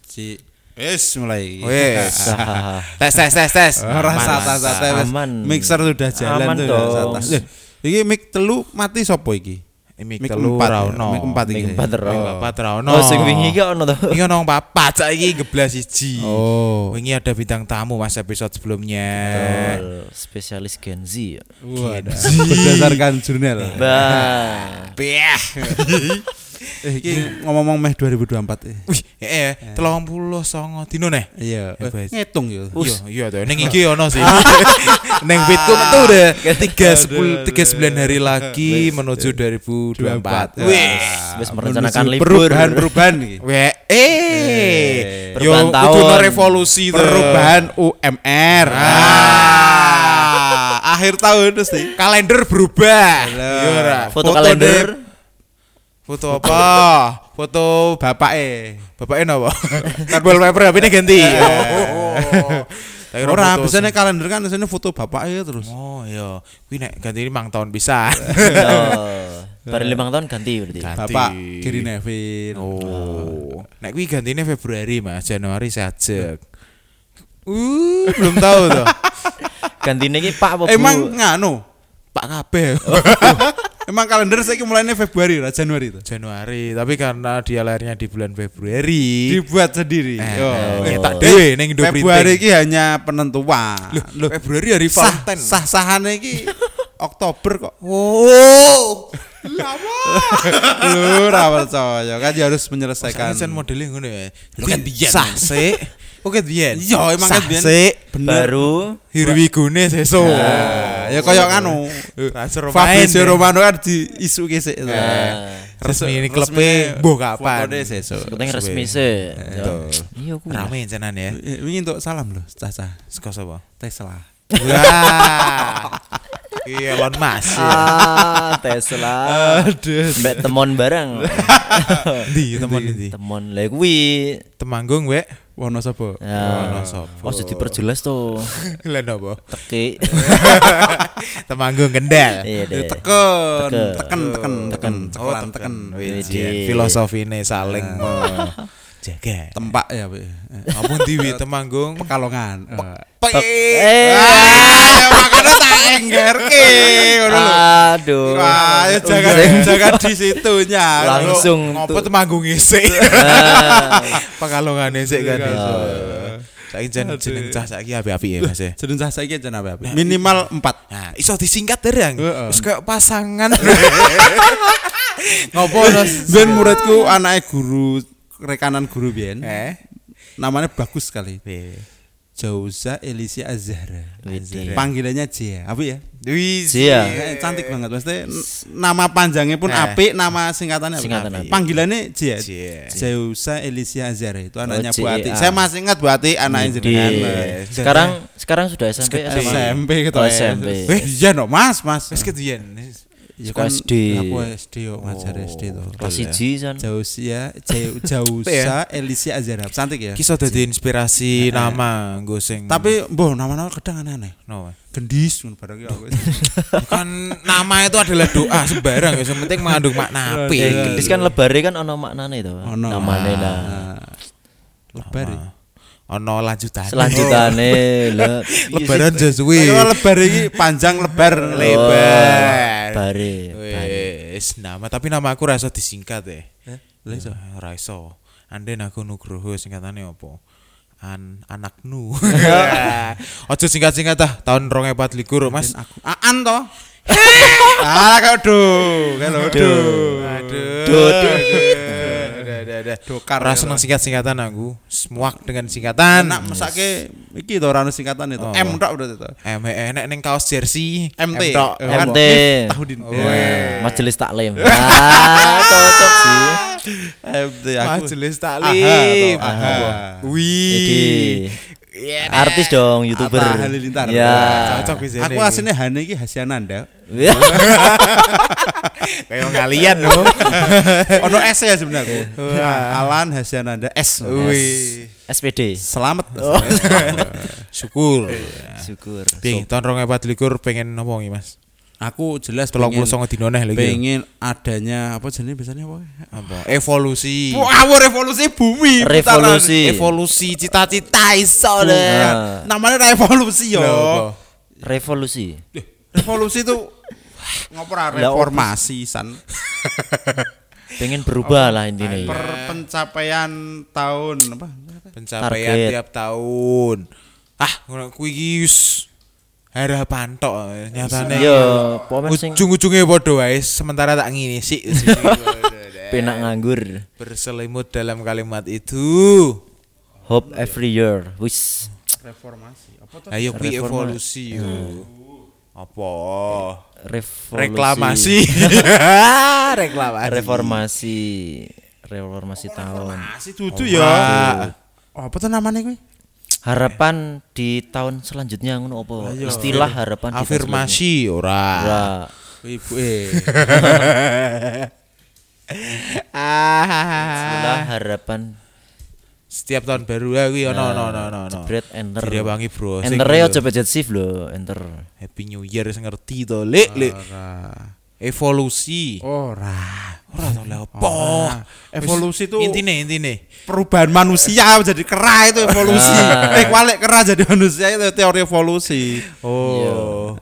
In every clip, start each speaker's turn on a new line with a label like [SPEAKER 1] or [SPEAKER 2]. [SPEAKER 1] siji Wes mulai.
[SPEAKER 2] Wes. tes tes tes tes.
[SPEAKER 1] Ora
[SPEAKER 2] Aman.
[SPEAKER 1] sata sata wes.
[SPEAKER 3] Aman.
[SPEAKER 1] Mixer sudah jalan
[SPEAKER 3] Aman
[SPEAKER 1] tuh.
[SPEAKER 3] dong.
[SPEAKER 1] sata. Lih, Iki mic telu mati sapa iki?
[SPEAKER 2] Mic
[SPEAKER 1] Mic
[SPEAKER 2] telu
[SPEAKER 1] empat,
[SPEAKER 2] ora ono.
[SPEAKER 1] Mic ya. empat iki.
[SPEAKER 3] Mic empat ora
[SPEAKER 1] Mic
[SPEAKER 3] ono.
[SPEAKER 1] empat ora ono.
[SPEAKER 3] Oh, sing wingi ki ono to.
[SPEAKER 2] Iki ono papat saiki geblas siji.
[SPEAKER 1] Oh.
[SPEAKER 2] Wingi ada bintang tamu Mas episode sebelumnya.
[SPEAKER 3] Betul, Spesialis Gen Z.
[SPEAKER 1] Wadah. Berdasarkan jurnal.
[SPEAKER 3] Bah.
[SPEAKER 2] Beh.
[SPEAKER 1] Eh, iki ngomong-ngomong meh 2024 eh.
[SPEAKER 2] Wih, eh, telung puluh songo dino neh.
[SPEAKER 1] Iya, eh,
[SPEAKER 2] Hebat.
[SPEAKER 1] ngitung yo.
[SPEAKER 2] Iya, iya to. Ning iki ono sih. Ning fitku metu udah 3 10 39 hari lagi menuju 2024. Wih.
[SPEAKER 3] Wis merencanakan
[SPEAKER 1] Menuju Ya.
[SPEAKER 3] libur.
[SPEAKER 1] Perubahan-perubahan iki.
[SPEAKER 2] We, eh, yo
[SPEAKER 3] Perubahan tahun.
[SPEAKER 2] kudu revolusi tuh.
[SPEAKER 1] Perubahan UMR. Ah. Akhir tahun terus nih.
[SPEAKER 2] kalender berubah. Iya ora.
[SPEAKER 3] Foto kalender.
[SPEAKER 2] deh. Foto apa? Foto
[SPEAKER 1] Bapak eh.
[SPEAKER 2] bapaknya apa? Kan wallpaper HP ini ganti. Eh. Tapi
[SPEAKER 1] Ora
[SPEAKER 2] foto-
[SPEAKER 1] biasanya kalender kan biasanya foto bapak eh terus.
[SPEAKER 2] Oh iya, kuwi nek ganti ini mang tahun bisa.
[SPEAKER 3] Oh. Baru limang tahun ganti berarti.
[SPEAKER 2] Ganti.
[SPEAKER 1] Bapak Giri Nevin.
[SPEAKER 2] Oh. Nek kuwi gantinya Februari Mas, Januari sajek. Uh, belum tahu tuh.
[SPEAKER 3] Gantine ki Pak apa Bu?
[SPEAKER 1] Emang nganu.
[SPEAKER 2] Pak kabeh.
[SPEAKER 1] Emang kalender saya mulainya Februari lah Januari itu.
[SPEAKER 2] Januari, tapi karena dia lahirnya di bulan Februari.
[SPEAKER 1] Dibuat sendiri.
[SPEAKER 2] Eh,
[SPEAKER 1] Yo.
[SPEAKER 2] eh,
[SPEAKER 1] Eh,
[SPEAKER 2] tak dewe ning Indo
[SPEAKER 1] Februari
[SPEAKER 2] Printing.
[SPEAKER 1] ini hanya penentuan. Loh,
[SPEAKER 2] Nah, Februari hari
[SPEAKER 1] sah
[SPEAKER 2] Valentine.
[SPEAKER 1] sah sahane iki Oktober kok.
[SPEAKER 2] Oh.
[SPEAKER 1] Lho ra percaya kan ya harus menyelesaikan.
[SPEAKER 2] Kan sen modelnya ngono ya.
[SPEAKER 1] Lho, kan biyen.
[SPEAKER 2] Sah sik. Oke biyen.
[SPEAKER 1] Iya emang kan
[SPEAKER 2] Sah
[SPEAKER 1] biyen
[SPEAKER 2] sik.
[SPEAKER 1] bener.
[SPEAKER 3] baru
[SPEAKER 2] Hirwigune seso.
[SPEAKER 1] Nah, ya koyo
[SPEAKER 2] kan.
[SPEAKER 1] anu.
[SPEAKER 2] Raser ya.
[SPEAKER 1] Fabrizio Romano Eh. kan diisuki sik.
[SPEAKER 2] resmi
[SPEAKER 1] Resmi
[SPEAKER 2] ini klubnya mbuh kapan.
[SPEAKER 1] fotone sesuk.
[SPEAKER 3] penting resmi se.
[SPEAKER 2] Betul.
[SPEAKER 3] Iya ku.
[SPEAKER 2] Eh, Rame cenan ya.
[SPEAKER 1] Eh, Wingi entuk salam lho, Caca.
[SPEAKER 2] Seko sapa?
[SPEAKER 1] Tesla.
[SPEAKER 2] Wah. Iya Elon Musk.
[SPEAKER 3] Ah, Tesla.
[SPEAKER 2] Aduh.
[SPEAKER 3] Mbak temon bareng.
[SPEAKER 2] Di teman di.
[SPEAKER 3] temon lek kuwi.
[SPEAKER 2] Temanggung wek.
[SPEAKER 1] Wono sapa?
[SPEAKER 3] Ya.
[SPEAKER 2] Ono Oh, sapa?
[SPEAKER 3] Ojo diperjelas to.
[SPEAKER 2] Lan apa?
[SPEAKER 3] Teki.
[SPEAKER 2] Temanggung Kendal.
[SPEAKER 3] Iya
[SPEAKER 1] Eh,
[SPEAKER 3] deh.
[SPEAKER 1] Teken,
[SPEAKER 3] Teken.
[SPEAKER 1] teken, teken, teken,
[SPEAKER 2] Oh,
[SPEAKER 1] cekelan teken.
[SPEAKER 3] iya, Widi.
[SPEAKER 2] Filosofi ini saling Ah. jaga.
[SPEAKER 1] Tempak ya, Pak. Eh,
[SPEAKER 2] Ampun diwi temanggung.
[SPEAKER 1] Pekalongan. Ah, ya,
[SPEAKER 3] Eh.
[SPEAKER 2] Ah. makanya tak enggerke.
[SPEAKER 1] Ah.
[SPEAKER 3] Aduh. Iya.
[SPEAKER 2] Wah, ya jangan
[SPEAKER 3] Sing-
[SPEAKER 2] jangan di situnya.
[SPEAKER 3] Langsung
[SPEAKER 2] ngopo
[SPEAKER 3] tuh.
[SPEAKER 2] temanggung isik.
[SPEAKER 3] Ah.
[SPEAKER 2] Pekalongan isik kan.
[SPEAKER 1] Iya.
[SPEAKER 2] iso. Saiki jeneng jeneng cah saiki api-api ya Mas ya.
[SPEAKER 1] Jeneng cah saiki jeneng apa? Minimal 4.
[SPEAKER 2] Nah, iso disingkat derang.
[SPEAKER 1] Heeh.
[SPEAKER 2] Terus kayak pasangan.
[SPEAKER 1] Ngopo Ben muridku anaknya guru rekanan guru biyen.
[SPEAKER 2] Eh.
[SPEAKER 1] Namanya bagus sekali. Jauza Elisia Azhara.
[SPEAKER 3] Widih.
[SPEAKER 1] Panggilannya Jia. Apa ya?
[SPEAKER 2] Dwi.
[SPEAKER 3] Sia.
[SPEAKER 1] Eh, cantik banget maksudnya n- nama panjangnya pun
[SPEAKER 2] Nah.
[SPEAKER 1] apik, nama singkatannya apik.
[SPEAKER 3] Singkatan Iya. apik.
[SPEAKER 1] Panggilannya Jia.
[SPEAKER 2] Jia.
[SPEAKER 1] Jauza Elisia Azhara itu anaknya Bu
[SPEAKER 3] JA.
[SPEAKER 1] Ati. Saya masih ingat Bu Ati anaknya jenengan.
[SPEAKER 3] Di- Iya. Sekarang sekarang sudah SMP
[SPEAKER 1] Eh,
[SPEAKER 3] SMA.
[SPEAKER 1] SMP gitu
[SPEAKER 3] Oh,
[SPEAKER 1] ya.
[SPEAKER 3] SMP.
[SPEAKER 1] Eh, iya no, Mas, Mas.
[SPEAKER 2] Wis keduyen.
[SPEAKER 1] Ya
[SPEAKER 2] kan
[SPEAKER 3] Sekolah SD.
[SPEAKER 1] Aku SD yo ngajar SD tuh.
[SPEAKER 3] Oh,
[SPEAKER 2] ya.
[SPEAKER 3] Kelas 1 san.
[SPEAKER 1] Jausia, Jau-
[SPEAKER 3] ya?
[SPEAKER 1] Jausa, Elisia Azhara. Cantik ya.
[SPEAKER 2] Kisah dadi inspirasi nama nggo sing
[SPEAKER 1] Tapi mbuh nama-nama kadang aneh-aneh.
[SPEAKER 2] no.
[SPEAKER 1] Gendis ngono barang ya aku.
[SPEAKER 2] Bukan nama itu adalah doa sembarang ya, yang penting mengandung makna
[SPEAKER 3] Eh,
[SPEAKER 2] apik.
[SPEAKER 3] gendis kan lebare kan ono maknane to.
[SPEAKER 1] Ono.
[SPEAKER 2] Ah.
[SPEAKER 3] Namane lah.
[SPEAKER 1] Nah, Lebar. ya.
[SPEAKER 2] Ono lanjutan.
[SPEAKER 3] Selanjutane lho.
[SPEAKER 2] Lebaran
[SPEAKER 1] Tapi
[SPEAKER 2] Jesuwi.
[SPEAKER 1] kalau lebar ini panjang lebar
[SPEAKER 2] Lebar.
[SPEAKER 3] Bare.
[SPEAKER 2] Wes, nama tapi nama aku rasa disingkat ya. Lha iso ora iso. Anden aku Nugroho ya singkatane apa? An anak nu. Ojo singkat-singkat ah tahun 2024 Mas.
[SPEAKER 1] Aku aan toh. ah kau do, kalau do.
[SPEAKER 2] Aduh. Udah, udah, udah.
[SPEAKER 1] Dokar.
[SPEAKER 2] Ora seneng singkat-singatan aku. Semuak dengan singkatan.
[SPEAKER 1] Nak mesake iki to ora ono singkatan itu.
[SPEAKER 2] Oh.
[SPEAKER 1] M tok udah itu.
[SPEAKER 2] M enek ning kaos jersey
[SPEAKER 1] MT.
[SPEAKER 2] M tok.
[SPEAKER 1] Eh,
[SPEAKER 3] MT.
[SPEAKER 1] Tahudin.
[SPEAKER 2] Iya.
[SPEAKER 3] Majelis taklim. Ah, cocok sih.
[SPEAKER 1] MT aku.
[SPEAKER 2] Majelis
[SPEAKER 1] Taklim.
[SPEAKER 2] taklim.
[SPEAKER 1] Aha.
[SPEAKER 3] Jadi
[SPEAKER 2] Wih. Iya,
[SPEAKER 3] artis dong, YouTuber.
[SPEAKER 1] Atta Halilintar.
[SPEAKER 3] Ya.
[SPEAKER 2] Cocok wis
[SPEAKER 1] Aku
[SPEAKER 2] ini.
[SPEAKER 1] aslinya Hane iki Hasyananda.
[SPEAKER 2] Kayak kalian loh.
[SPEAKER 1] Ono S ya sebenarnya. Alan Hasyananda S. Oh.
[SPEAKER 2] Wih.
[SPEAKER 3] SPD.
[SPEAKER 1] Selamat.
[SPEAKER 2] Syukur.
[SPEAKER 3] Syukur. Iya.
[SPEAKER 2] Bing, tahun 2024 pengen ngomong Mas.
[SPEAKER 1] Aku jelas
[SPEAKER 2] 39 dino neh lho iki.
[SPEAKER 1] Pengen adanya apa jenenge biasanya iya. apa?
[SPEAKER 2] Apa? Evolusi.
[SPEAKER 1] Wah, wow, revolusi bumi. putaran.
[SPEAKER 3] Revolusi.
[SPEAKER 2] Evolusi cita-cita iso
[SPEAKER 3] Iya.
[SPEAKER 2] deh.
[SPEAKER 1] Namanya revolusi
[SPEAKER 2] Lho, apa?
[SPEAKER 1] yo.
[SPEAKER 3] Revolusi.
[SPEAKER 1] Revolusi itu ngopo ra
[SPEAKER 3] Lah,
[SPEAKER 1] reformasi san.
[SPEAKER 3] Pengen berubah lah intinya. ya.
[SPEAKER 1] Per pencapaian tahun apa?
[SPEAKER 2] Pencapaian
[SPEAKER 3] Target.
[SPEAKER 2] tiap tahun. Ah, ngono kuwi iki wis harapan tok nyatane.
[SPEAKER 3] Iya, pokoknya sing
[SPEAKER 2] Ujung-ujungnya bodoh wae sementara tak ngini sih.
[SPEAKER 3] penak nganggur.
[SPEAKER 2] Berselimut dalam kalimat itu.
[SPEAKER 3] Hope every year. Wis.
[SPEAKER 1] Reformasi. Apa tuh?
[SPEAKER 2] Ayo kuwi
[SPEAKER 3] Reforma-
[SPEAKER 2] evolusi yo. Apa?
[SPEAKER 3] Revolusi.
[SPEAKER 2] Reklamasi. Reklamasi.
[SPEAKER 3] Reformasi. Reformasi tahun.
[SPEAKER 1] Masih dudu ya. Oh, apa tuh namanya kuwi?
[SPEAKER 3] Harapan di tahun selanjutnya ngono apa? Istilah harapan di tahun
[SPEAKER 2] Afirmasi Ah.
[SPEAKER 3] selanjutnya.
[SPEAKER 2] ora.
[SPEAKER 3] Ora.
[SPEAKER 1] Ibu eh.
[SPEAKER 3] Istilah harapan
[SPEAKER 2] Setiap tahun baru ya kuwi ono ono ono ono, ono.
[SPEAKER 3] Jebret enter.
[SPEAKER 2] Direwangi, bro. Oh, Sing gitu.
[SPEAKER 3] Enter ya
[SPEAKER 2] kuwi.
[SPEAKER 3] aja pencet shift lho, enter.
[SPEAKER 2] Happy New Year sing ngerti to, Lek, Lek. Evolusi.
[SPEAKER 1] Ora.
[SPEAKER 2] Ora tau lha apa.
[SPEAKER 1] Evolusi itu-
[SPEAKER 2] intine intine.
[SPEAKER 1] Perubahan manusia jadi kera itu evolusi.
[SPEAKER 3] Ah.
[SPEAKER 1] eh, balik kera jadi manusia ya, itu teori evolusi.
[SPEAKER 3] Iya.
[SPEAKER 2] Oh.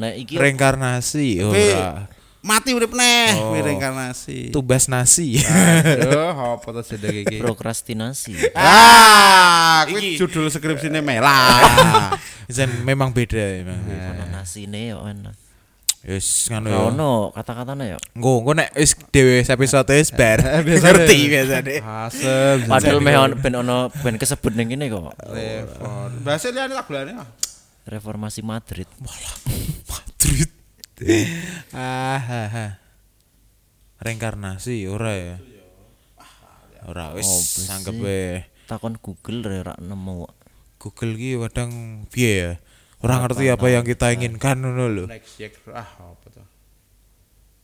[SPEAKER 3] Nah, iki
[SPEAKER 2] Reinkarnasi oh,
[SPEAKER 1] Tapi
[SPEAKER 2] ora.
[SPEAKER 1] mati urip neh,
[SPEAKER 2] Oh.
[SPEAKER 1] kuwi reinkarnasi.
[SPEAKER 2] Tubas nasi.
[SPEAKER 1] Ah. Aduh, apa tuh sedek iki?
[SPEAKER 3] prokrastinasi.
[SPEAKER 1] Ah, kuwi judul skripsine Mela.
[SPEAKER 2] Zen memang beda emang.
[SPEAKER 3] Ono nasine yo enak.
[SPEAKER 2] Wis ngono ya.
[SPEAKER 3] Iya. Ono kata-katanya yo.
[SPEAKER 2] Nggo, engko nek wis dhewe episode wis bar.
[SPEAKER 1] biasa
[SPEAKER 2] Ngerti
[SPEAKER 1] deh.
[SPEAKER 2] biasane.
[SPEAKER 1] Asem.
[SPEAKER 3] Padahal meh on- ben ono ben kesebut ning kene kok.
[SPEAKER 1] Telepon. Bahasa liane tak gulane.
[SPEAKER 3] Reformasi Madrid.
[SPEAKER 2] Madrid. ah, ah, ah. Reinkarnasi ora ya. Ora wis
[SPEAKER 3] Apa sih?
[SPEAKER 2] anggap wae.
[SPEAKER 3] Takon Google re ra nemu.
[SPEAKER 2] Google ki kadang piye ya? Ora ngerti apa yang kita inginkan ngono lho.
[SPEAKER 1] Next year. Ah, apa tuh?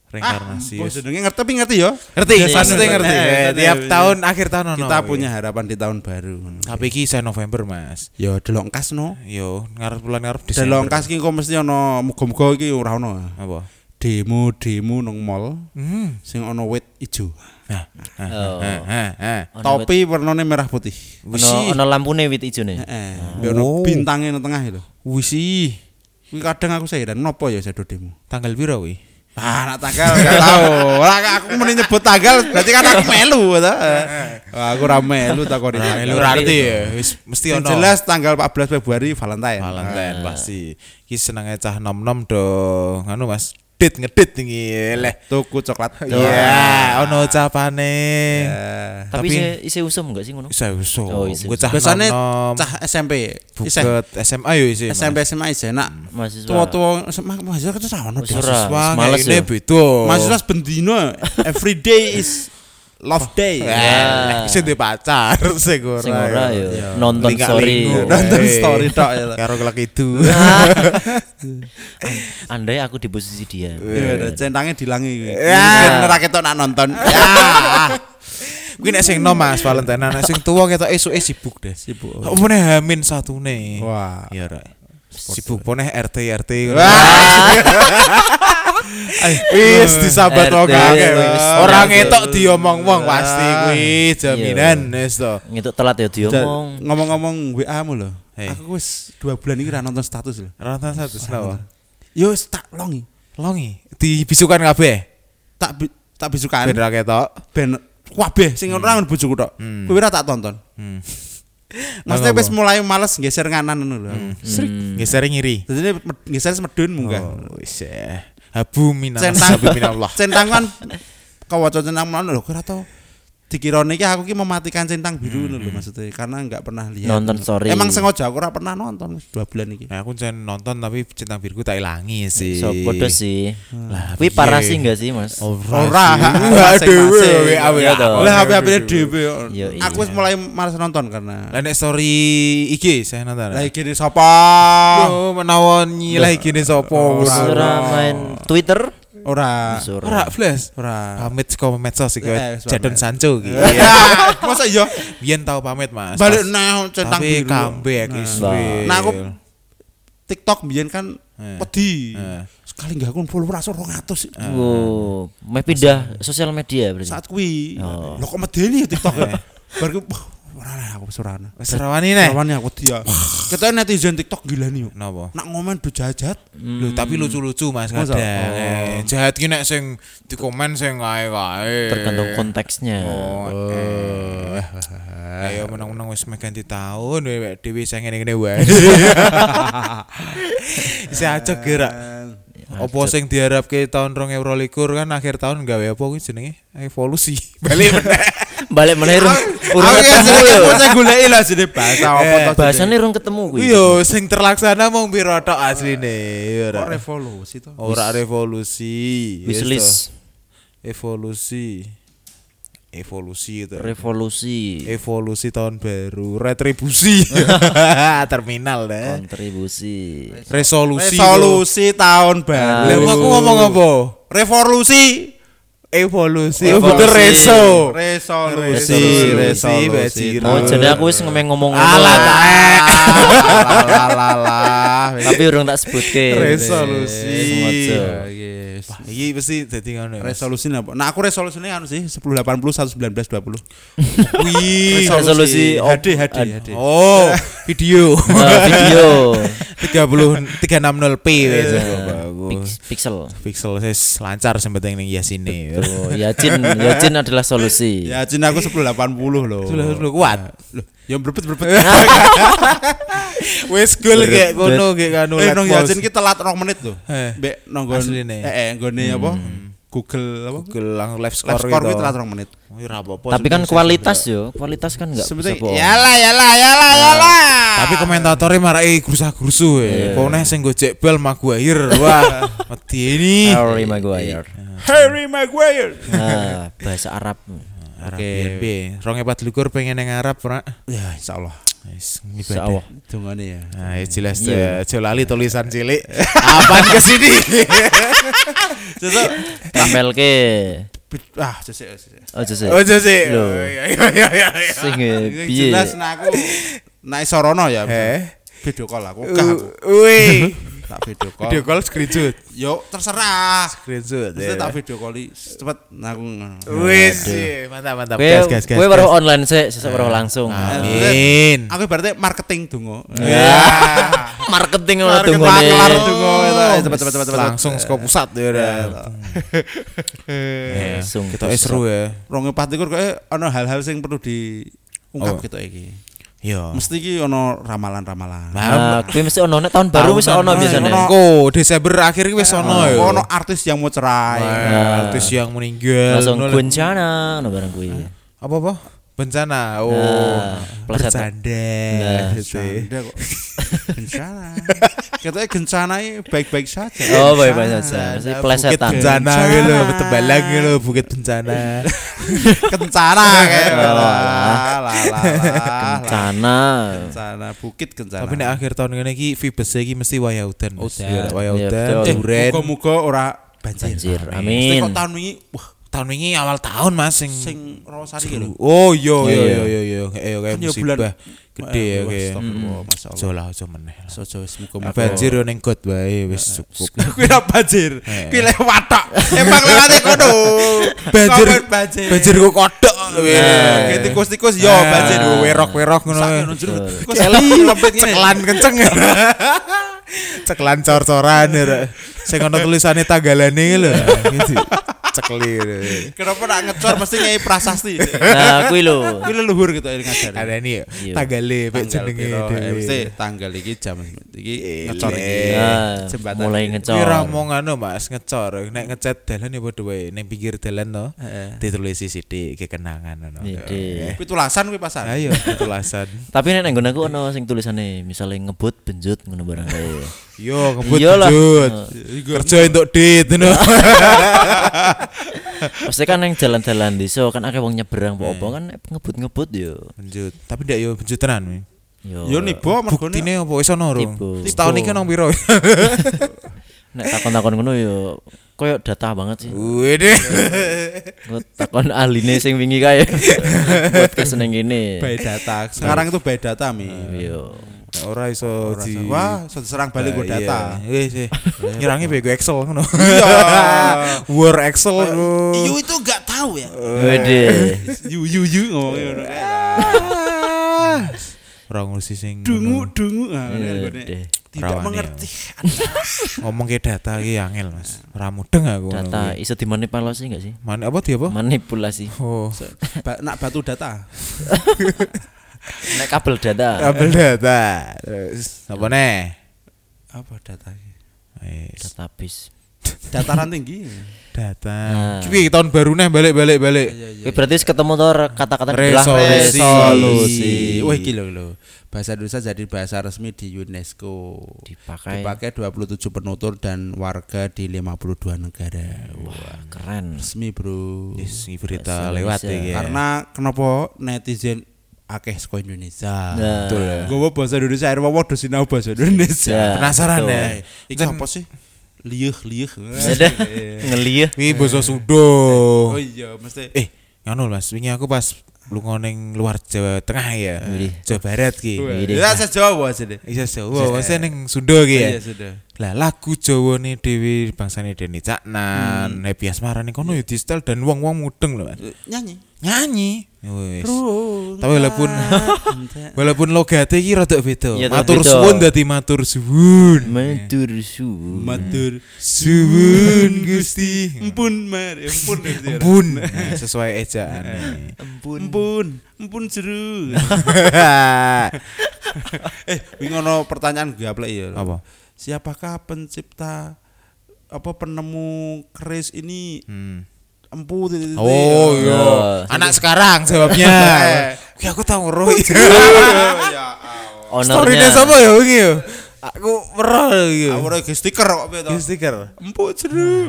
[SPEAKER 2] Reinkarnasi.
[SPEAKER 1] Ah,
[SPEAKER 2] wis.
[SPEAKER 1] jenenge ngerti tapi ngerti ya.
[SPEAKER 2] Ngerti, Eh,
[SPEAKER 3] Iya,
[SPEAKER 2] pasti
[SPEAKER 1] iya,
[SPEAKER 2] ngerti.
[SPEAKER 1] iya, iya,
[SPEAKER 2] Tiap
[SPEAKER 1] iya.
[SPEAKER 2] tahun akhir tahun ono.
[SPEAKER 1] Kita punya harapan di tahun baru.
[SPEAKER 2] Tapi iki saya November, Mas.
[SPEAKER 1] Ya delok kas no.
[SPEAKER 2] Yo, ngarep bulan ngarep Desember.
[SPEAKER 1] Delok kas ki engko mesti ono muga-muga iki ora ono.
[SPEAKER 2] apa?
[SPEAKER 1] Demo-demo nang mall
[SPEAKER 2] Hmm. Oh.
[SPEAKER 1] sing ono wit ijo. Eh,
[SPEAKER 2] Nah, nah, nah,
[SPEAKER 3] Oh.
[SPEAKER 2] nah, nah.
[SPEAKER 3] Ono
[SPEAKER 1] Topi warnane merah putih.
[SPEAKER 3] wit- ono ono lampune wit ijone.
[SPEAKER 1] Heeh. Mbek Eh, ono
[SPEAKER 2] Oh.
[SPEAKER 1] bintange nang tengah lho.
[SPEAKER 2] Wisi.
[SPEAKER 1] Kuwi kadang aku saya heran nopo ya sedo demo.
[SPEAKER 2] Tanggal piro kuwi?
[SPEAKER 1] Ah, nak tanggal gak tahu. Lah aku meni nyebut tanggal berarti kan aku melu ta. Wah, aku ora melu takoni.
[SPEAKER 2] Nah,
[SPEAKER 1] tanggal.
[SPEAKER 2] lu
[SPEAKER 3] ora
[SPEAKER 2] ngerti
[SPEAKER 3] ngerti.
[SPEAKER 2] ya, wis mesti
[SPEAKER 1] Yang
[SPEAKER 2] ono.
[SPEAKER 1] jelas tanggal 14 Februari Valentine.
[SPEAKER 2] Valentine pasti. Ki seneng cah nom-nom dong. Anu Mas, dit ngedit iki leh.
[SPEAKER 1] Tuku coklat.
[SPEAKER 2] Iya, ono capane.
[SPEAKER 3] Tapi
[SPEAKER 1] Eh.
[SPEAKER 2] Tapi-
[SPEAKER 3] isi- isi usum enggak sih ngono?
[SPEAKER 2] Isa uso.
[SPEAKER 3] Oh, isih.
[SPEAKER 2] Gue cah
[SPEAKER 1] Biasanya
[SPEAKER 2] nom-nom.
[SPEAKER 1] cah SMP. Isih-
[SPEAKER 2] buket SMA yo isih. Iya, Mas.
[SPEAKER 1] SMP SMA isih nak
[SPEAKER 3] Hmm. Mahasiswa.
[SPEAKER 1] tua-tua SMA mahasiswa kan ora ono.
[SPEAKER 3] Wis
[SPEAKER 1] Des.
[SPEAKER 3] ora,
[SPEAKER 2] Wah,
[SPEAKER 3] wis males
[SPEAKER 2] ini
[SPEAKER 3] ya.
[SPEAKER 2] beda.
[SPEAKER 1] Mahasiswa bendino every day is love day.
[SPEAKER 2] Iya.
[SPEAKER 3] Ya.
[SPEAKER 2] Sing duwe pacar sing ora.
[SPEAKER 3] Sing ora
[SPEAKER 2] ya.
[SPEAKER 3] yo. Nonton
[SPEAKER 2] Lingkak
[SPEAKER 3] story.
[SPEAKER 2] lingkuk.
[SPEAKER 1] Nonton
[SPEAKER 2] Eh.
[SPEAKER 1] story tok ya.
[SPEAKER 2] Karo kelek itu.
[SPEAKER 3] Andai aku di posisi dia.
[SPEAKER 1] Iya, centangnya dilangi.
[SPEAKER 2] Ya.
[SPEAKER 1] Ora ketok nak nonton.
[SPEAKER 2] Kuwi nek sing nom Mas Valentine nek sing tuwa ketok esuke sibuk deh.
[SPEAKER 1] Sibuk.
[SPEAKER 2] Apa meneh hamin satune.
[SPEAKER 1] Wah.
[SPEAKER 2] Iya ra. Sibuk poneh RT RT. Wis disabat
[SPEAKER 3] RT,
[SPEAKER 2] wong
[SPEAKER 1] iya,
[SPEAKER 2] akeh.
[SPEAKER 3] wis.
[SPEAKER 2] Orang etok diomong wong pasti kuwi jaminan wis to.
[SPEAKER 3] Ngituk telat ya diomong.
[SPEAKER 1] Ngomong-ngomong WA mu lho.
[SPEAKER 2] Hei.
[SPEAKER 1] Aku wis 2 bulan iki ra nonton status lho.
[SPEAKER 2] Rata satu senawa.
[SPEAKER 1] Yo wis tak longi.
[SPEAKER 2] Longi dibisukan kabeh.
[SPEAKER 1] Tak bi- tak bisukan.
[SPEAKER 2] Ben ra ketok.
[SPEAKER 1] ben kabeh sing ora ngono bojoku tok. Kowe ora tak tonton.
[SPEAKER 2] Hmm.
[SPEAKER 1] Maksudnya
[SPEAKER 2] Apa? Hmm.
[SPEAKER 1] wis mulai males geser nganan ngono lho.
[SPEAKER 2] Srik geser ngiri.
[SPEAKER 1] Jadi med- geser semedun munggah.
[SPEAKER 2] wis ya. Habu minas
[SPEAKER 1] Oh, Centang
[SPEAKER 2] habu minallah.
[SPEAKER 1] centang kan kawaca centang mana lho kowe ora tau dikirone iki aku ki mematikan centang biru ngono lho maksudnya karena nggak pernah lihat.
[SPEAKER 3] Nonton story.
[SPEAKER 1] Iya. Emang sengaja aku ora pernah nonton wis 2 bulan iki.
[SPEAKER 2] Nah, aku jan nonton tapi centang biruku tak ilangi sih.
[SPEAKER 3] So podo Iya,
[SPEAKER 1] Iya.
[SPEAKER 3] sih.
[SPEAKER 2] Lah, piye?
[SPEAKER 3] Kuwi parah sih enggak sih, Mas?
[SPEAKER 1] Oh, Ora,
[SPEAKER 2] Ora dhewe
[SPEAKER 1] masing-masing.
[SPEAKER 2] wae awe.
[SPEAKER 3] Iya toh.
[SPEAKER 1] Lah HP-HP dhewe. ya.
[SPEAKER 3] Yo, iya.
[SPEAKER 1] Aku wis mulai males nonton karena
[SPEAKER 2] Lah nek story iki saya nonton.
[SPEAKER 1] iya. lah
[SPEAKER 2] Lah
[SPEAKER 1] iki sapa?
[SPEAKER 2] oh, menawon nyilah gini sopo
[SPEAKER 1] Ora,
[SPEAKER 3] Ora main Twitter.
[SPEAKER 1] Ora.
[SPEAKER 3] Ora.
[SPEAKER 2] Ora flash.
[SPEAKER 1] Ora.
[SPEAKER 2] Ah. Pamit saka medsos iki
[SPEAKER 1] Eh, pamit.
[SPEAKER 2] Jadon Sancho iki.
[SPEAKER 1] Iya. Masa iya?
[SPEAKER 2] Biyen tau pamit Mas.
[SPEAKER 1] Balik
[SPEAKER 2] Pas-
[SPEAKER 1] nah centang
[SPEAKER 2] tapi
[SPEAKER 1] biru.
[SPEAKER 2] comeback
[SPEAKER 1] Nah.
[SPEAKER 2] iki suwe.
[SPEAKER 1] Nah, aku- TikTok biyen kan
[SPEAKER 2] Eh.
[SPEAKER 1] wedi.
[SPEAKER 2] Eh.
[SPEAKER 1] Terus kali nggak akun follower asor 200
[SPEAKER 3] Wow, meh pindah sosial media berarti.
[SPEAKER 1] saat kui
[SPEAKER 3] Oh.
[SPEAKER 1] lo kok medeni ya TikTok ya baru ku, wah, ora lah aku surana
[SPEAKER 2] Wis rawani neh.
[SPEAKER 1] lawan aku dia kita netizen TikTok gila nih yuk
[SPEAKER 2] Napa?
[SPEAKER 1] nak ngomen do jahat
[SPEAKER 2] Loh, tapi lucu-lucu Mas
[SPEAKER 1] Hmm. Masa? Oh.
[SPEAKER 2] kadang. Eh, Jahat ki nek sing dikomen sing kae-kae.
[SPEAKER 3] Tergantung konteksnya.
[SPEAKER 2] Oh, eh. Ayo menang-menang wis meh ganti tahun wewek dhewe sing ngene-ngene wae. Isa acok gerak. Apa sing diharapke tahun 2022 kan akhir tahun gawe apa kuwi jenenge? Evolusi. Balik meneh.
[SPEAKER 3] Balik meneh urung urung
[SPEAKER 1] Aku ya
[SPEAKER 3] ketemu
[SPEAKER 1] sering
[SPEAKER 3] yo.
[SPEAKER 1] mau saya gulai lah jadi bahasa apa toh
[SPEAKER 3] Bahasane urung ketemu kuwi.
[SPEAKER 2] Yo Iya, sing terlaksana mong piro tok asline. Iya, Ora.
[SPEAKER 1] Kok revolusi toh
[SPEAKER 2] Ora revolusi. Yes, toh.
[SPEAKER 3] Wishlist
[SPEAKER 2] evolusi evolusi itu ya.
[SPEAKER 3] revolusi
[SPEAKER 2] Iya. evolusi tahun baru retribusi terminal deh
[SPEAKER 3] kontribusi.
[SPEAKER 2] resolusi
[SPEAKER 1] resolusi tahun
[SPEAKER 2] Lho,
[SPEAKER 1] baru
[SPEAKER 2] Lho, aku ngomong apa
[SPEAKER 1] revolusi
[SPEAKER 2] evolusi
[SPEAKER 1] Evolusi.
[SPEAKER 2] bener Iya, reso
[SPEAKER 1] resolusi
[SPEAKER 2] Resi, resi,
[SPEAKER 1] resolusi
[SPEAKER 2] beci,
[SPEAKER 3] Oh,
[SPEAKER 2] Terus.
[SPEAKER 3] jadi aku wis ngomong ngomong
[SPEAKER 2] alah eh.
[SPEAKER 3] tapi urung tak sebutke. Eh,
[SPEAKER 2] Resolusi.
[SPEAKER 3] Semoga.
[SPEAKER 1] yes
[SPEAKER 2] iya pasti jadi ngono ya, Mas.
[SPEAKER 1] resolusi apa nah aku resolusinya anu sih 10 80 119 20
[SPEAKER 2] Wih.
[SPEAKER 3] Resolusi op-
[SPEAKER 1] HD HD HD
[SPEAKER 2] oh video
[SPEAKER 3] Nah, video
[SPEAKER 2] 30 360p wes.
[SPEAKER 3] Pix- pixel.
[SPEAKER 2] pixel sis lancar sing penting ning e. yasine
[SPEAKER 3] Tuh, Yacin, Yacin adalah solusi.
[SPEAKER 1] ya Cina aku 10 80 loh ya
[SPEAKER 2] sudah sudah kuat
[SPEAKER 1] yang berbet berbet
[SPEAKER 2] Wes gol kayak kono kayak anu kanu.
[SPEAKER 1] eh nong
[SPEAKER 2] Latmos.
[SPEAKER 1] Yajin kita telat 2 menit loh
[SPEAKER 2] Eh.
[SPEAKER 1] mbek nonggon
[SPEAKER 2] Asline.
[SPEAKER 1] eh eh nggone apa Google apa
[SPEAKER 2] Google lang live score
[SPEAKER 1] live score
[SPEAKER 2] gitu.
[SPEAKER 1] kuwi telat 2 menit
[SPEAKER 2] Wih, ra apa-apa,
[SPEAKER 3] Tapi kan
[SPEAKER 2] sebenarnya.
[SPEAKER 3] kualitas yo, kualitas kan enggak bisa
[SPEAKER 1] sebetulnya
[SPEAKER 2] ya.
[SPEAKER 3] bohong.
[SPEAKER 1] yalah yalah
[SPEAKER 2] Nah.
[SPEAKER 1] yalah yalah
[SPEAKER 2] Tapi komentatornya "Eh, marai gerusa-gerusu ya. Pone sing gojek bal Maguire. Wah, mati ini.
[SPEAKER 3] Harry
[SPEAKER 2] Iya.
[SPEAKER 3] Maguire.
[SPEAKER 1] Harry Maguire
[SPEAKER 3] Ah, bahasa Arab.
[SPEAKER 2] Oke, piye? 2024 pengen yang Arab, Ra.
[SPEAKER 1] ya insyaallah
[SPEAKER 2] Wis
[SPEAKER 3] Insyaallah.
[SPEAKER 2] ngibadah.
[SPEAKER 1] dongane ya
[SPEAKER 2] Nah, ya jelas ya. Jolali tulisan cilik. Apaan ke sini?
[SPEAKER 3] Tampilke.
[SPEAKER 1] Bid- ah sesek sesek
[SPEAKER 3] Ojo sih.
[SPEAKER 2] Ojo sih.
[SPEAKER 3] Lho.
[SPEAKER 2] Oh, Iya, iya, iya, iya, iya.
[SPEAKER 3] Sing eh, piye?
[SPEAKER 1] jelas nah aku naik sorono ya
[SPEAKER 2] Eh.
[SPEAKER 1] video call aku gak aku
[SPEAKER 2] U- Wih.
[SPEAKER 1] tak video call
[SPEAKER 2] Uh. Video call screenshot.
[SPEAKER 1] yo terserah
[SPEAKER 2] Screenshot.
[SPEAKER 1] Terus
[SPEAKER 2] ya.
[SPEAKER 1] tak video call cepet nah aku
[SPEAKER 2] Wis, mantap mantap.
[SPEAKER 3] Kowe kowe baru online sih, sesuk baru langsung.
[SPEAKER 2] Amin. Ya.
[SPEAKER 1] aku berarti marketing dungo
[SPEAKER 3] Marketing lah
[SPEAKER 1] Marketing
[SPEAKER 3] tunggone.
[SPEAKER 1] kelar dungo
[SPEAKER 2] Eh,
[SPEAKER 1] cepet cepet cepet cepet
[SPEAKER 2] Langsung saka pusat ya udah.
[SPEAKER 3] Langsung.
[SPEAKER 2] Kita eh, seru ya.
[SPEAKER 1] ronge patikur kok ana hal-hal sing perlu diungkap
[SPEAKER 2] Apa?
[SPEAKER 1] gitu iki
[SPEAKER 2] Yo.
[SPEAKER 1] mesti iki ana ramalan-ramalan
[SPEAKER 3] Nah, kuwi mesti ono nek tahun baru wis ono
[SPEAKER 1] Tahunan,
[SPEAKER 3] biasane.
[SPEAKER 1] ono.
[SPEAKER 2] Engko Oh, Desember akhir wis ono ya.
[SPEAKER 1] ono artis yang mau cerai
[SPEAKER 2] Nah, Artis yang meninggal.
[SPEAKER 3] Langsung
[SPEAKER 2] ngono lho.
[SPEAKER 3] bencana ono barang kuwi.
[SPEAKER 2] Apa apa? Bencana. Oh.
[SPEAKER 3] Nah, pleset.
[SPEAKER 1] Nah,
[SPEAKER 2] Bercanda. Gitu.
[SPEAKER 1] Canda kok Gencana Katanya gencana ini baik-baik saja
[SPEAKER 3] Oh, baik-baik saja. Mesti
[SPEAKER 2] Bukit
[SPEAKER 3] plesetan.
[SPEAKER 2] bencana gitu lho, Tebalang gitu lho, bukit bencana.
[SPEAKER 1] Kencana kayak gitu.
[SPEAKER 3] Lah, lah,
[SPEAKER 1] Lah, lah, lah, lah.
[SPEAKER 3] Bencana.
[SPEAKER 1] Kencana Bukit kencana
[SPEAKER 2] Tapi nek akhir tahun ngene iki Vibes iki mesti wayah udan. Mas.
[SPEAKER 3] Udan.
[SPEAKER 2] Iya, Wayah
[SPEAKER 3] Iya,
[SPEAKER 2] udan,
[SPEAKER 3] betul.
[SPEAKER 2] duren.
[SPEAKER 1] Muga-muga ora banjir
[SPEAKER 3] Banjir.
[SPEAKER 1] Mesti
[SPEAKER 3] Amin.
[SPEAKER 1] kok tahun ini Wah
[SPEAKER 2] Tahun ini awal tahun Mas sing
[SPEAKER 1] sing rosari gitu
[SPEAKER 2] Oh yo yo
[SPEAKER 3] Iya,
[SPEAKER 2] yo yo yo kayak kayak
[SPEAKER 1] Kan ya bulan- Eh,
[SPEAKER 2] musibah gede ya kayak.
[SPEAKER 1] Astagfirullah Masya Allah
[SPEAKER 2] Aja lah aja meneh. lah. Nah,
[SPEAKER 1] Sojo wis nah. muga-muga
[SPEAKER 2] Banjir yo ning got wae wis cukup.
[SPEAKER 1] Kuwi ora banjir
[SPEAKER 2] Eh.
[SPEAKER 1] Kuwi lewat tok Emang lewat kono
[SPEAKER 2] Banjir
[SPEAKER 1] Ngomong Banjir Eh,
[SPEAKER 2] banjir Eh. kok kodok weh. Gitu,
[SPEAKER 1] Kayak tikus-tikus yo banjir
[SPEAKER 2] Yo, werok-werok ngono.
[SPEAKER 1] Sakit
[SPEAKER 2] weh.
[SPEAKER 1] nunjuk Tikus
[SPEAKER 2] Celi
[SPEAKER 1] lempit ngene.
[SPEAKER 2] ceklan kenceng. ceklan cor-coran ya. Rek. Sing ono tulisane tanggalane iki lho. Gitu. Cekli. gitu.
[SPEAKER 1] Kenapa nak ngecor mesti nyai prasasti.
[SPEAKER 3] Nah, kuwi lho.
[SPEAKER 1] Kuwi leluhur gitu yang ngajar.
[SPEAKER 2] Ada nih
[SPEAKER 3] Iya.
[SPEAKER 2] tanggale pek
[SPEAKER 1] Tanggal
[SPEAKER 2] ya. jenenge
[SPEAKER 1] piro, eh,
[SPEAKER 2] dhewe.
[SPEAKER 1] mesti tanggal iki jam iki ngecor iki.
[SPEAKER 3] Nah, mulai
[SPEAKER 2] Iki ra
[SPEAKER 3] ngecor.
[SPEAKER 2] mong anu Mas ngecor, nek ngecat dalan ya padha wae ning pinggir dalan no. Ditulisi sithik kekenangan ngono.
[SPEAKER 3] Iya, deh.
[SPEAKER 1] Kuwi tulasan kuwi pasan.
[SPEAKER 2] Ayo tulasan.
[SPEAKER 3] Tapi nek nggon aku ono sing tulisane misalnya ngebut benjut ngono barang kae.
[SPEAKER 2] Yo ngebut
[SPEAKER 3] Iyalah.
[SPEAKER 2] ngebut. Kerja untuk dit ngono.
[SPEAKER 3] Pasti kan yang jalan-jalan desa kan akeh wong nyebrang apa apa kan ngebut-ngebut yo.
[SPEAKER 2] Benjut. Tapi ndak yo benjut tenan. weh.
[SPEAKER 1] Yo
[SPEAKER 2] Oh,
[SPEAKER 1] nibo mergone
[SPEAKER 2] Buktine opo wis ono rung.
[SPEAKER 3] Tipu.
[SPEAKER 2] Setahun iki nang piro?
[SPEAKER 3] Nek takon-takon ngono yo koyo data banget sih.
[SPEAKER 2] Wede.
[SPEAKER 3] Kok takon ahline sing wingi kae. Podcast seneng
[SPEAKER 1] Eh,
[SPEAKER 3] ngene. Oh,
[SPEAKER 1] by data. Sekarang itu by data mi.
[SPEAKER 3] Yo.
[SPEAKER 2] Ora iso di
[SPEAKER 1] Wah, so diserang balik gue
[SPEAKER 2] Ah, iya.
[SPEAKER 1] data.
[SPEAKER 2] Wis wis. Ngirangi bego Excel ngono.
[SPEAKER 1] Iya.
[SPEAKER 2] War Excel ngono.
[SPEAKER 1] Iyu itu gak tahu ya.
[SPEAKER 2] Oh.
[SPEAKER 3] Wede.
[SPEAKER 1] Iyu iyu iyu ngomongnya ngono kayak.
[SPEAKER 2] Ora ngurusi sing
[SPEAKER 1] Dungu
[SPEAKER 2] ngono.
[SPEAKER 1] dungu. Ah, ngono kan gue nih.
[SPEAKER 3] Wede.
[SPEAKER 1] Tidak
[SPEAKER 2] Rawan ya.
[SPEAKER 1] mengerti.
[SPEAKER 2] ngomong ke data iki angel Mas. Ora mudeng aku. ngono
[SPEAKER 3] Data
[SPEAKER 2] kuwi.
[SPEAKER 3] iso dimanipulasi enggak sih?
[SPEAKER 2] Man apa dia apa?
[SPEAKER 3] Manipulasi.
[SPEAKER 2] Oh.
[SPEAKER 1] Ba- Nak batu data.
[SPEAKER 3] Nek kabel data.
[SPEAKER 2] Kabel data. Terus apa nih?
[SPEAKER 1] Apa datanya?
[SPEAKER 2] Wis,
[SPEAKER 3] Database.
[SPEAKER 1] Dataran tinggi.
[SPEAKER 2] Data.
[SPEAKER 3] Nah. Iya,
[SPEAKER 2] Ki tahun baru nih balik balik balik.
[SPEAKER 3] Oke, berarti ketemu tuh kata-kata
[SPEAKER 2] Resolusi.
[SPEAKER 3] resolusi.
[SPEAKER 1] Solusi. Wah gila loh. Bahasa Indonesia jadi bahasa resmi di UNESCO.
[SPEAKER 3] Dipakai.
[SPEAKER 1] Dipakai 27 penutur dan warga di 52 negara. Wah,
[SPEAKER 3] Keren.
[SPEAKER 1] resmi, Bro.
[SPEAKER 3] iya.
[SPEAKER 1] Iya.
[SPEAKER 2] Yes, ini berita lewat iki.
[SPEAKER 1] Karena kenapa netizen akeh saka Indonesia.
[SPEAKER 3] Nah. Betul ya.
[SPEAKER 1] Gue bahasa Indonesia, akhirnya waduh sinau bahasa Indonesia. Nah,
[SPEAKER 3] Ya.
[SPEAKER 2] penasaran
[SPEAKER 3] Betul.
[SPEAKER 2] ya.
[SPEAKER 1] Iki apa sih? Liuh, liuh.
[SPEAKER 3] Ada ngeliat
[SPEAKER 2] Ini boso sudo.
[SPEAKER 1] Oh iya, mesti
[SPEAKER 2] Eh, ngono Mas, wingi aku pas lunga ning luar Jawa Tengah ya.
[SPEAKER 3] Wih.
[SPEAKER 2] Jawa Barat ki.
[SPEAKER 3] Wih.
[SPEAKER 1] Ya saya Jawa sih deh.
[SPEAKER 2] Iya Jawa, mesti ning Sunda ki ya.
[SPEAKER 1] Iya sudah.
[SPEAKER 2] Lah lagu Jawa nih Dewi bangsane Deni
[SPEAKER 3] Hmm.
[SPEAKER 2] Caknan, Happy Asmara nih kono ya di style dan wong-wong mudeng loh Mas.
[SPEAKER 1] Nyanyi.
[SPEAKER 2] Nyanyi. Wis. Tapi walaupun walaupun logate iki rada beda.
[SPEAKER 3] Iya, rada
[SPEAKER 2] matur
[SPEAKER 3] beda.
[SPEAKER 2] suwun dadi matur suwun.
[SPEAKER 3] Matur suwun.
[SPEAKER 1] matur
[SPEAKER 2] Suwun Gusti.
[SPEAKER 1] empun mar empun
[SPEAKER 2] Ampun. Nah, sesuai ejaan.
[SPEAKER 1] empun empun seru eh wingi ono pertanyaan gue aplek ya
[SPEAKER 2] Apa?
[SPEAKER 1] siapakah pencipta apa penemu keris ini
[SPEAKER 2] Hmm.
[SPEAKER 1] empu titik-titik.
[SPEAKER 2] Oh iya.
[SPEAKER 3] Iya.
[SPEAKER 2] Anak sekarang jawabnya. Ki aku tahu roh.
[SPEAKER 1] Oh, iya.
[SPEAKER 2] Storynya
[SPEAKER 3] Honornya.
[SPEAKER 2] sama ya wingi ya. Aku merah iki.
[SPEAKER 1] aku ora ge iya. stiker kok piye to
[SPEAKER 2] Iki stiker.
[SPEAKER 1] empu seru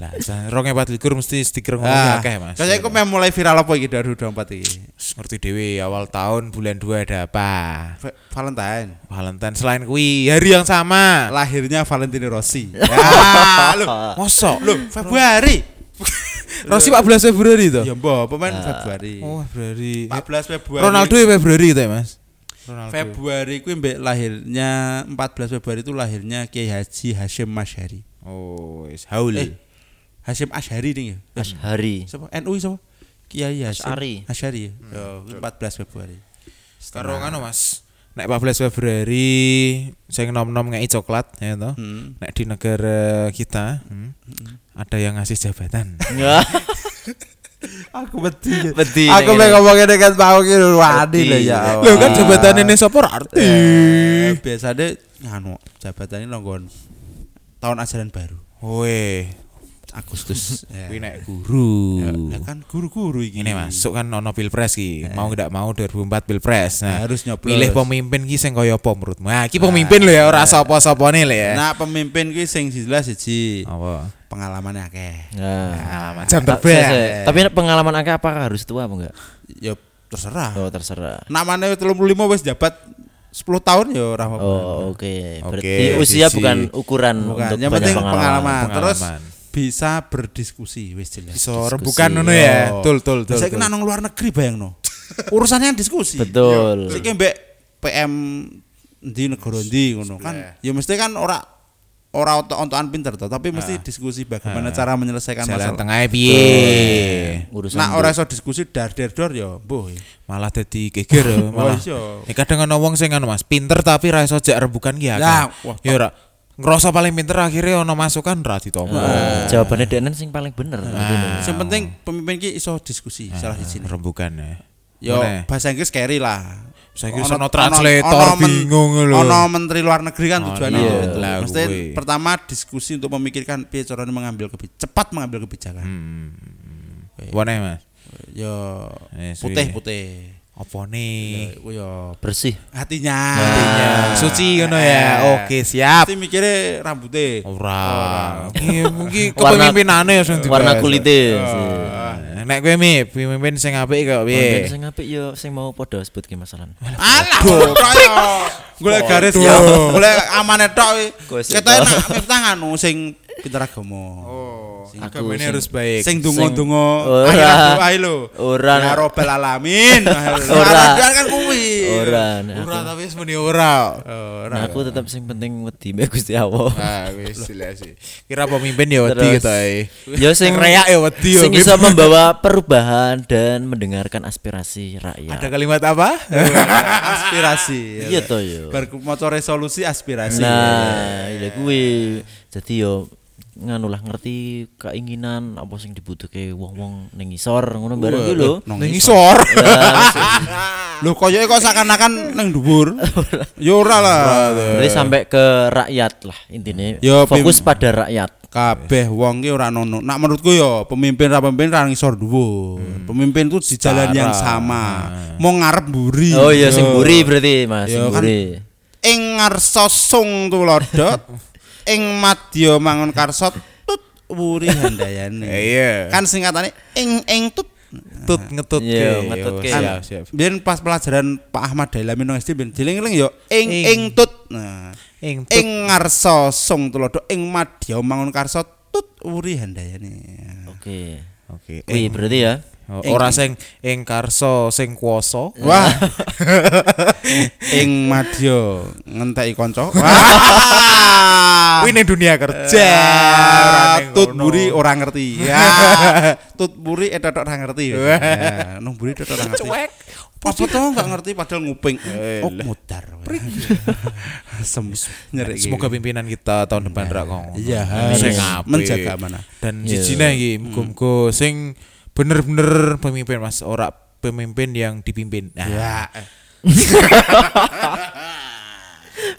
[SPEAKER 2] Lah, rong empat likur mesti stiker ngono ki
[SPEAKER 1] ah
[SPEAKER 2] akeh, Oh, iya, Mas.
[SPEAKER 1] saya iku meh mulai viral apa iki 2024 iki
[SPEAKER 2] Terus ngerti dewe awal tahun bulan 2 ada apa?
[SPEAKER 1] Va- Valentine
[SPEAKER 2] Valentine selain kui hari yang sama.
[SPEAKER 1] lahirnya Valentino Rossi ya lho
[SPEAKER 2] Mosok.
[SPEAKER 1] lho Februari
[SPEAKER 2] Rossi 14 Februari to?
[SPEAKER 1] ya mbok pemain Februari
[SPEAKER 2] Oh, Februari.
[SPEAKER 1] 14 Februari.
[SPEAKER 2] Ronaldo ya Februari gitu ya, Mas? Ronaldo.
[SPEAKER 1] Februari kuwi mbek lahirnya 14 Februari itu lahirnya Kiai Haji Hasyim Masyari.
[SPEAKER 2] Oh, wis haul.
[SPEAKER 1] Eh, Hasyim Asyari ning ya. Eh,
[SPEAKER 3] Ashari.
[SPEAKER 1] Sapa NU sapa? Kiai Hasyim
[SPEAKER 3] Asy'ari.
[SPEAKER 1] Asyari ya.
[SPEAKER 2] Hmm.
[SPEAKER 1] Yo, 14 Februari.
[SPEAKER 2] Karo
[SPEAKER 1] Nah.
[SPEAKER 2] ngono Mas. Nek 14 Februari saya nom-nom ngeki coklat ya toh.
[SPEAKER 1] Hmm.
[SPEAKER 2] Nek di negara kita hmm, ada yang ngasih jabatan.
[SPEAKER 3] Ya.
[SPEAKER 1] Aku beti.
[SPEAKER 3] Beti,
[SPEAKER 1] Aku pengen
[SPEAKER 3] nek ngene.
[SPEAKER 1] ngomongin dengan Pak Oki Wadi
[SPEAKER 3] Beti.
[SPEAKER 1] lho ya. Allah.
[SPEAKER 2] Loh kan jabatan ini sapa ora arti.
[SPEAKER 1] Eh, biasanya nganu jabatan ini longgon tahun ajaran baru
[SPEAKER 2] Woi,
[SPEAKER 1] Agustus. Ya.
[SPEAKER 2] kuwi nek guru.
[SPEAKER 1] Lah kan guru-guru iki.
[SPEAKER 2] Ini masuk kan ono pilpres ki, mau nggak mau 2004 pilpres. Nah,
[SPEAKER 1] Eh. Harus nyoblos.
[SPEAKER 2] pilih pemimpin ki sing kaya apa menurut. Nah, ki pemimpin lho ya ora sapa-sapane lho
[SPEAKER 1] iya.
[SPEAKER 2] ya.
[SPEAKER 1] Nah, pemimpin kuwi sing jelas siji
[SPEAKER 2] Apa?
[SPEAKER 1] pengalamannya akeh.
[SPEAKER 2] Ah,
[SPEAKER 3] Nah.
[SPEAKER 2] jam
[SPEAKER 3] Ta-
[SPEAKER 2] terbang.
[SPEAKER 3] saya- saya- Tapi pengalaman angka apakah harus tua apa enggak?
[SPEAKER 1] ya terserah.
[SPEAKER 3] Oh, terserah.
[SPEAKER 1] Namanya 35 wis jabat 10 tahun ya ora apa-apa.
[SPEAKER 3] Oh, oke. Berarti
[SPEAKER 2] Nah, Oke,
[SPEAKER 3] usia
[SPEAKER 2] sisi.
[SPEAKER 3] bukan ukuran
[SPEAKER 1] Bukan,
[SPEAKER 3] untuk
[SPEAKER 1] yang
[SPEAKER 3] banyak
[SPEAKER 1] penting pengalaman. Terus
[SPEAKER 2] Pengalaman.
[SPEAKER 1] bisa berdiskusi wis jelas.
[SPEAKER 2] Iso Oh, rebukan ngono ya.
[SPEAKER 1] Oh.
[SPEAKER 2] Tul tul tul.
[SPEAKER 1] Saya
[SPEAKER 2] tul.
[SPEAKER 1] kena nang luar negeri bayangno. Urusannya diskusi.
[SPEAKER 3] Betul.
[SPEAKER 1] Saiki mbek PM di negara ndi ngono kan. Ya mesti kan ora ora ontok-ontokan pinter toh, tapi mesti
[SPEAKER 3] Ah.
[SPEAKER 1] diskusi bagaimana cara menyelesaikan
[SPEAKER 2] Jalan
[SPEAKER 1] masalah.
[SPEAKER 2] tengahnya piye?
[SPEAKER 3] ya. urusan
[SPEAKER 1] Nah, ora iso diskusi dar der dor ya, mbuh.
[SPEAKER 2] Malah dadi geger ya, malah.
[SPEAKER 1] iya.
[SPEAKER 2] Ya kadang ana wong sing anu Mas, pinter tapi ra iso jak rebukan ki akeh.
[SPEAKER 1] Lah, wah,
[SPEAKER 2] Ya ora. Ngerasa paling pinter akhirnya ana masukan ra ditompo.
[SPEAKER 3] Nah, jawabannya Denen sing paling bener.
[SPEAKER 2] Nah.
[SPEAKER 3] Ah.
[SPEAKER 1] Yang penting pemimpin ki iso diskusi salah siji.
[SPEAKER 2] Rebukan ya.
[SPEAKER 1] Yo
[SPEAKER 2] Mana?
[SPEAKER 1] bahasa Inggris carry lah. Ono-
[SPEAKER 2] Saiki wis ono
[SPEAKER 1] ono-
[SPEAKER 2] translator
[SPEAKER 1] ono men-
[SPEAKER 2] bingung lho.
[SPEAKER 1] Ono menteri luar negeri kan tujuannya
[SPEAKER 2] iya.
[SPEAKER 1] itu.
[SPEAKER 2] Lah,
[SPEAKER 1] Mesti
[SPEAKER 2] kuwi.
[SPEAKER 1] pertama diskusi untuk memikirkan piye carane mengambil kebijakan, cepat mengambil kebijakan.
[SPEAKER 2] Hmm. Wane Mas.
[SPEAKER 1] Yo
[SPEAKER 2] Eh, suwi.
[SPEAKER 1] putih-putih.
[SPEAKER 2] Opone.
[SPEAKER 1] Yo, yo Nah.
[SPEAKER 3] Bersih.
[SPEAKER 1] hatinya.
[SPEAKER 2] Hatinya. Suci ngono ya. Oke, siap.
[SPEAKER 1] Mesti mikirnya rambutnya.
[SPEAKER 2] Oh, Ora. Iya, mungkin
[SPEAKER 3] Warna-
[SPEAKER 2] kepemimpinane ya sing dibahas.
[SPEAKER 3] Warna
[SPEAKER 2] Iya.
[SPEAKER 3] kulitnya.
[SPEAKER 2] Nek kowe mi pemimpin sing apik kok
[SPEAKER 3] Pemimpin
[SPEAKER 2] piye?
[SPEAKER 3] sing apik yo sing mau podo sebut ki masalan.
[SPEAKER 1] Alah, percaya. Golek garis ya, golek amane tok.
[SPEAKER 3] Gosip.
[SPEAKER 1] Kita nak miftah anu sing pinter Oh, agama.
[SPEAKER 2] Agama ini harus baik.
[SPEAKER 1] Sing donga-donga
[SPEAKER 3] Ora.
[SPEAKER 1] akhirat ae lho.
[SPEAKER 3] Ora.
[SPEAKER 1] Ya robbal alamin.
[SPEAKER 3] Ora.
[SPEAKER 1] Ora. kan kuwi.
[SPEAKER 3] Ora. nah,
[SPEAKER 2] iya. Ora tapi wis muni ora.
[SPEAKER 1] Oh,
[SPEAKER 3] Nah, aku tetap sing penting wedi mbek Gusti Allah.
[SPEAKER 2] Ah wis jelas sih. Kira pemimpin ya wedi
[SPEAKER 3] Terus.
[SPEAKER 2] kita eh.
[SPEAKER 3] Ya sing
[SPEAKER 2] reak ya wedi ya.
[SPEAKER 3] sing
[SPEAKER 2] Bib.
[SPEAKER 3] bisa membawa perubahan dan mendengarkan aspirasi
[SPEAKER 2] Ada
[SPEAKER 3] rakyat.
[SPEAKER 2] kalimat apa?
[SPEAKER 1] aspirasi.
[SPEAKER 3] Iya toh yo.
[SPEAKER 1] Bermaca resolusi aspirasi.
[SPEAKER 3] Nah, ya kuwi. Jadi yo nganu lah ngerti keinginan apa sing dibutuhke wong-wong ning isor ngono bareng kuwi lho.
[SPEAKER 1] Nang
[SPEAKER 2] Ning isor.
[SPEAKER 3] Nah,
[SPEAKER 1] Lho koyoke kok seakan-akan nang dhuwur. Ya ora lah.
[SPEAKER 3] Jadi sampai ke rakyat lah intinya.
[SPEAKER 1] Yo,
[SPEAKER 3] Fokus pada rakyat.
[SPEAKER 1] Kabeh wong ki ora nono. Nak menurutku ya pemimpin ra pemimpin ra ngisor dhuwur. Pemimpin tuh di jalan yang sama. Mau ngarep mburi.
[SPEAKER 3] Nah. Oh iya sing
[SPEAKER 1] Yo.
[SPEAKER 3] buri berarti Mas, sing
[SPEAKER 1] Yo, kan-
[SPEAKER 3] buri.
[SPEAKER 1] ing ngarsa sung tulodot ing madya mangun karsot tut wuri handayane
[SPEAKER 2] Iya.
[SPEAKER 1] kan singkatane ing ing tut Kan
[SPEAKER 2] Tut ngetut
[SPEAKER 3] Iya,
[SPEAKER 2] ke.
[SPEAKER 3] ngetut ke.
[SPEAKER 2] Siap,
[SPEAKER 3] Iya.
[SPEAKER 2] siap.
[SPEAKER 1] biyen pas pelajaran Pak Ahmad Dailami nang SD biyen dieling-eling yo ing ing tut nah
[SPEAKER 2] Ing tut.
[SPEAKER 1] ing ngarsa sung tulodot ing madya mangun karsot tut wuri
[SPEAKER 3] Nah.
[SPEAKER 1] handayane
[SPEAKER 3] Oke.
[SPEAKER 2] Oke.
[SPEAKER 3] Kuwi berarti ya.
[SPEAKER 2] Oh, Ora sing ing karso sing kuoso.
[SPEAKER 1] Wah. ing madya ngenteki kanca. Wah.
[SPEAKER 2] Kuwi ning dunia
[SPEAKER 3] Eh,
[SPEAKER 2] kerja.
[SPEAKER 1] Ja,
[SPEAKER 2] ning
[SPEAKER 1] tut
[SPEAKER 2] Eh, ngono.
[SPEAKER 1] buri ora ngerti. Ya. Tut buri eh tetok ora ngerti. Ya, nang buri tetok ora ngerti.
[SPEAKER 2] Cuek.
[SPEAKER 1] Apa tuh enggak ngerti padahal nguping. Oh, mudar. Asem nyeri. iki.
[SPEAKER 2] Semoga pimpinan kita
[SPEAKER 3] Nah,
[SPEAKER 2] tahun depan rak kong.
[SPEAKER 1] Iya,
[SPEAKER 2] Sing
[SPEAKER 1] harus
[SPEAKER 2] apik.
[SPEAKER 1] menjaga mana.
[SPEAKER 2] Dan
[SPEAKER 3] Iya.
[SPEAKER 2] sijine iki muga-muga sing bener-bener pemimpin Mas, ora pemimpin yang dipimpin. Nah,
[SPEAKER 1] Ya. eh.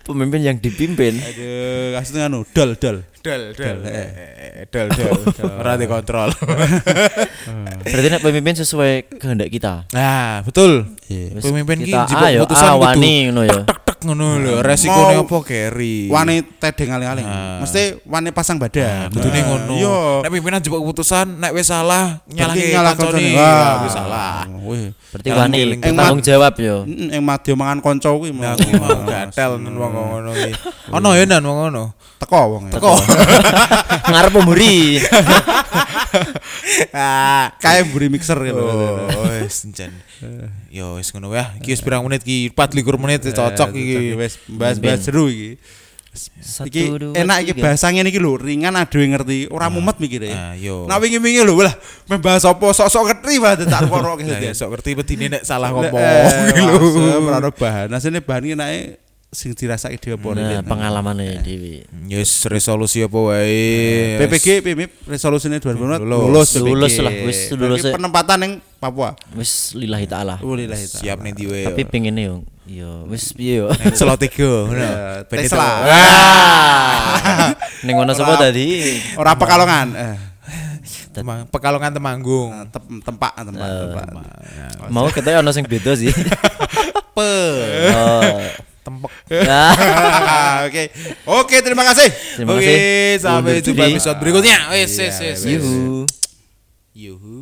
[SPEAKER 3] Pemimpin yang dipimpin.
[SPEAKER 1] Aduh, kasih anu dol dol.
[SPEAKER 2] Del, del, eh, del, del, ora dikontrol.
[SPEAKER 3] Berarti nek pemimpin sesuai kehendak kita.
[SPEAKER 2] Nah, betul.
[SPEAKER 1] Iya.
[SPEAKER 3] Wis
[SPEAKER 2] Pemimpin ki gitu.
[SPEAKER 3] kita
[SPEAKER 2] jebak
[SPEAKER 3] ayo,
[SPEAKER 2] keputusan
[SPEAKER 3] ah,
[SPEAKER 2] kudu
[SPEAKER 3] wani ngono ya.
[SPEAKER 2] Tek tek ngono lho, resikone
[SPEAKER 1] Mau-
[SPEAKER 2] apa carry.
[SPEAKER 1] Wane tedeng aling-aling. Mesti wane pasang badan. Nah,
[SPEAKER 2] kudune Ah. ngono.
[SPEAKER 1] Iya.
[SPEAKER 2] Nek pimpinan jebak keputusan, nek wis salah nyalahke
[SPEAKER 1] Berarti nyalah
[SPEAKER 2] kancane.
[SPEAKER 1] koncone.
[SPEAKER 2] Wah,
[SPEAKER 1] Wah.
[SPEAKER 2] wis salah.
[SPEAKER 1] Wih.
[SPEAKER 3] Berarti
[SPEAKER 2] Yang
[SPEAKER 3] wani
[SPEAKER 2] ngeling-
[SPEAKER 3] bertanggung jawab yo.
[SPEAKER 1] Mm, Ing madya mangan kanca kuwi mau.
[SPEAKER 2] Nah, aku mau gatel nen wong ngono iki.
[SPEAKER 1] Iya.
[SPEAKER 2] Ono ya nen wong ngono.
[SPEAKER 1] Teko wong. e.
[SPEAKER 2] Teko.
[SPEAKER 3] Ngarep pemburi.
[SPEAKER 1] Kayak Ah, mburi mixer gitu.
[SPEAKER 2] Oh, wis encen. Yo wis ngono ya. Iki wis pirang menit iki 24 menit wis cocok iki.
[SPEAKER 1] Eh, wis bahas-bahas seru iki.
[SPEAKER 3] Satu,
[SPEAKER 1] Iki
[SPEAKER 3] dua,
[SPEAKER 1] enak iki
[SPEAKER 3] tiga. Nah. iya.
[SPEAKER 1] bahasane iki lho, ringan aduh yang ngerti, ora mumet mikire.
[SPEAKER 2] ah, yo.
[SPEAKER 1] Nah wingi-wingi lho, lah membahas apa sok-sok ketri wae tak
[SPEAKER 3] Nah,
[SPEAKER 1] korok
[SPEAKER 2] Lah, ya
[SPEAKER 3] iya.
[SPEAKER 1] gitu.
[SPEAKER 2] sok ngerti bedine nek
[SPEAKER 1] Eh,
[SPEAKER 2] salah ngomong iki lho.
[SPEAKER 1] Lho, ora ono bahan. Asline bahan iki enake sing dirasake dhewe apa
[SPEAKER 3] Nah,
[SPEAKER 1] relate.
[SPEAKER 3] pengalamannya Dewi.
[SPEAKER 2] Yes, resolusi apa
[SPEAKER 1] Eh, Nah,
[SPEAKER 2] wae.
[SPEAKER 1] PPG PMIP resolusine 2024
[SPEAKER 2] Lulus.
[SPEAKER 1] lulus PPG.
[SPEAKER 3] Lulus lah, wis lulus.
[SPEAKER 1] Berarti penempatan yang Papua.
[SPEAKER 3] Wis lillahi taala.
[SPEAKER 1] Wallahi ta'ala.
[SPEAKER 2] siap nih diwe.
[SPEAKER 3] Tapi pengen yo yo wis piye yo.
[SPEAKER 2] Selo tiga, ngono. Pendeta.
[SPEAKER 1] Tesla.
[SPEAKER 3] Ah! Ning ngono sapa tadi?
[SPEAKER 1] Ora pekalongan. Eh,
[SPEAKER 2] Temang- Pekalongan Temanggung.
[SPEAKER 1] tem- tempak tempak
[SPEAKER 3] Nah,
[SPEAKER 1] tempak.
[SPEAKER 3] Mau kita ono sing beda sih.
[SPEAKER 2] Pe.
[SPEAKER 3] Oh.
[SPEAKER 2] Tempek.
[SPEAKER 3] Nah.
[SPEAKER 1] Oke. Oke, terima kasih.
[SPEAKER 3] Terima
[SPEAKER 2] Oke,
[SPEAKER 3] kasih.
[SPEAKER 2] sampai
[SPEAKER 3] Undur
[SPEAKER 2] jumpa
[SPEAKER 3] diri.
[SPEAKER 2] episode berikutnya. Wes, wes, wes.
[SPEAKER 3] Yuhu.
[SPEAKER 2] Yuhu.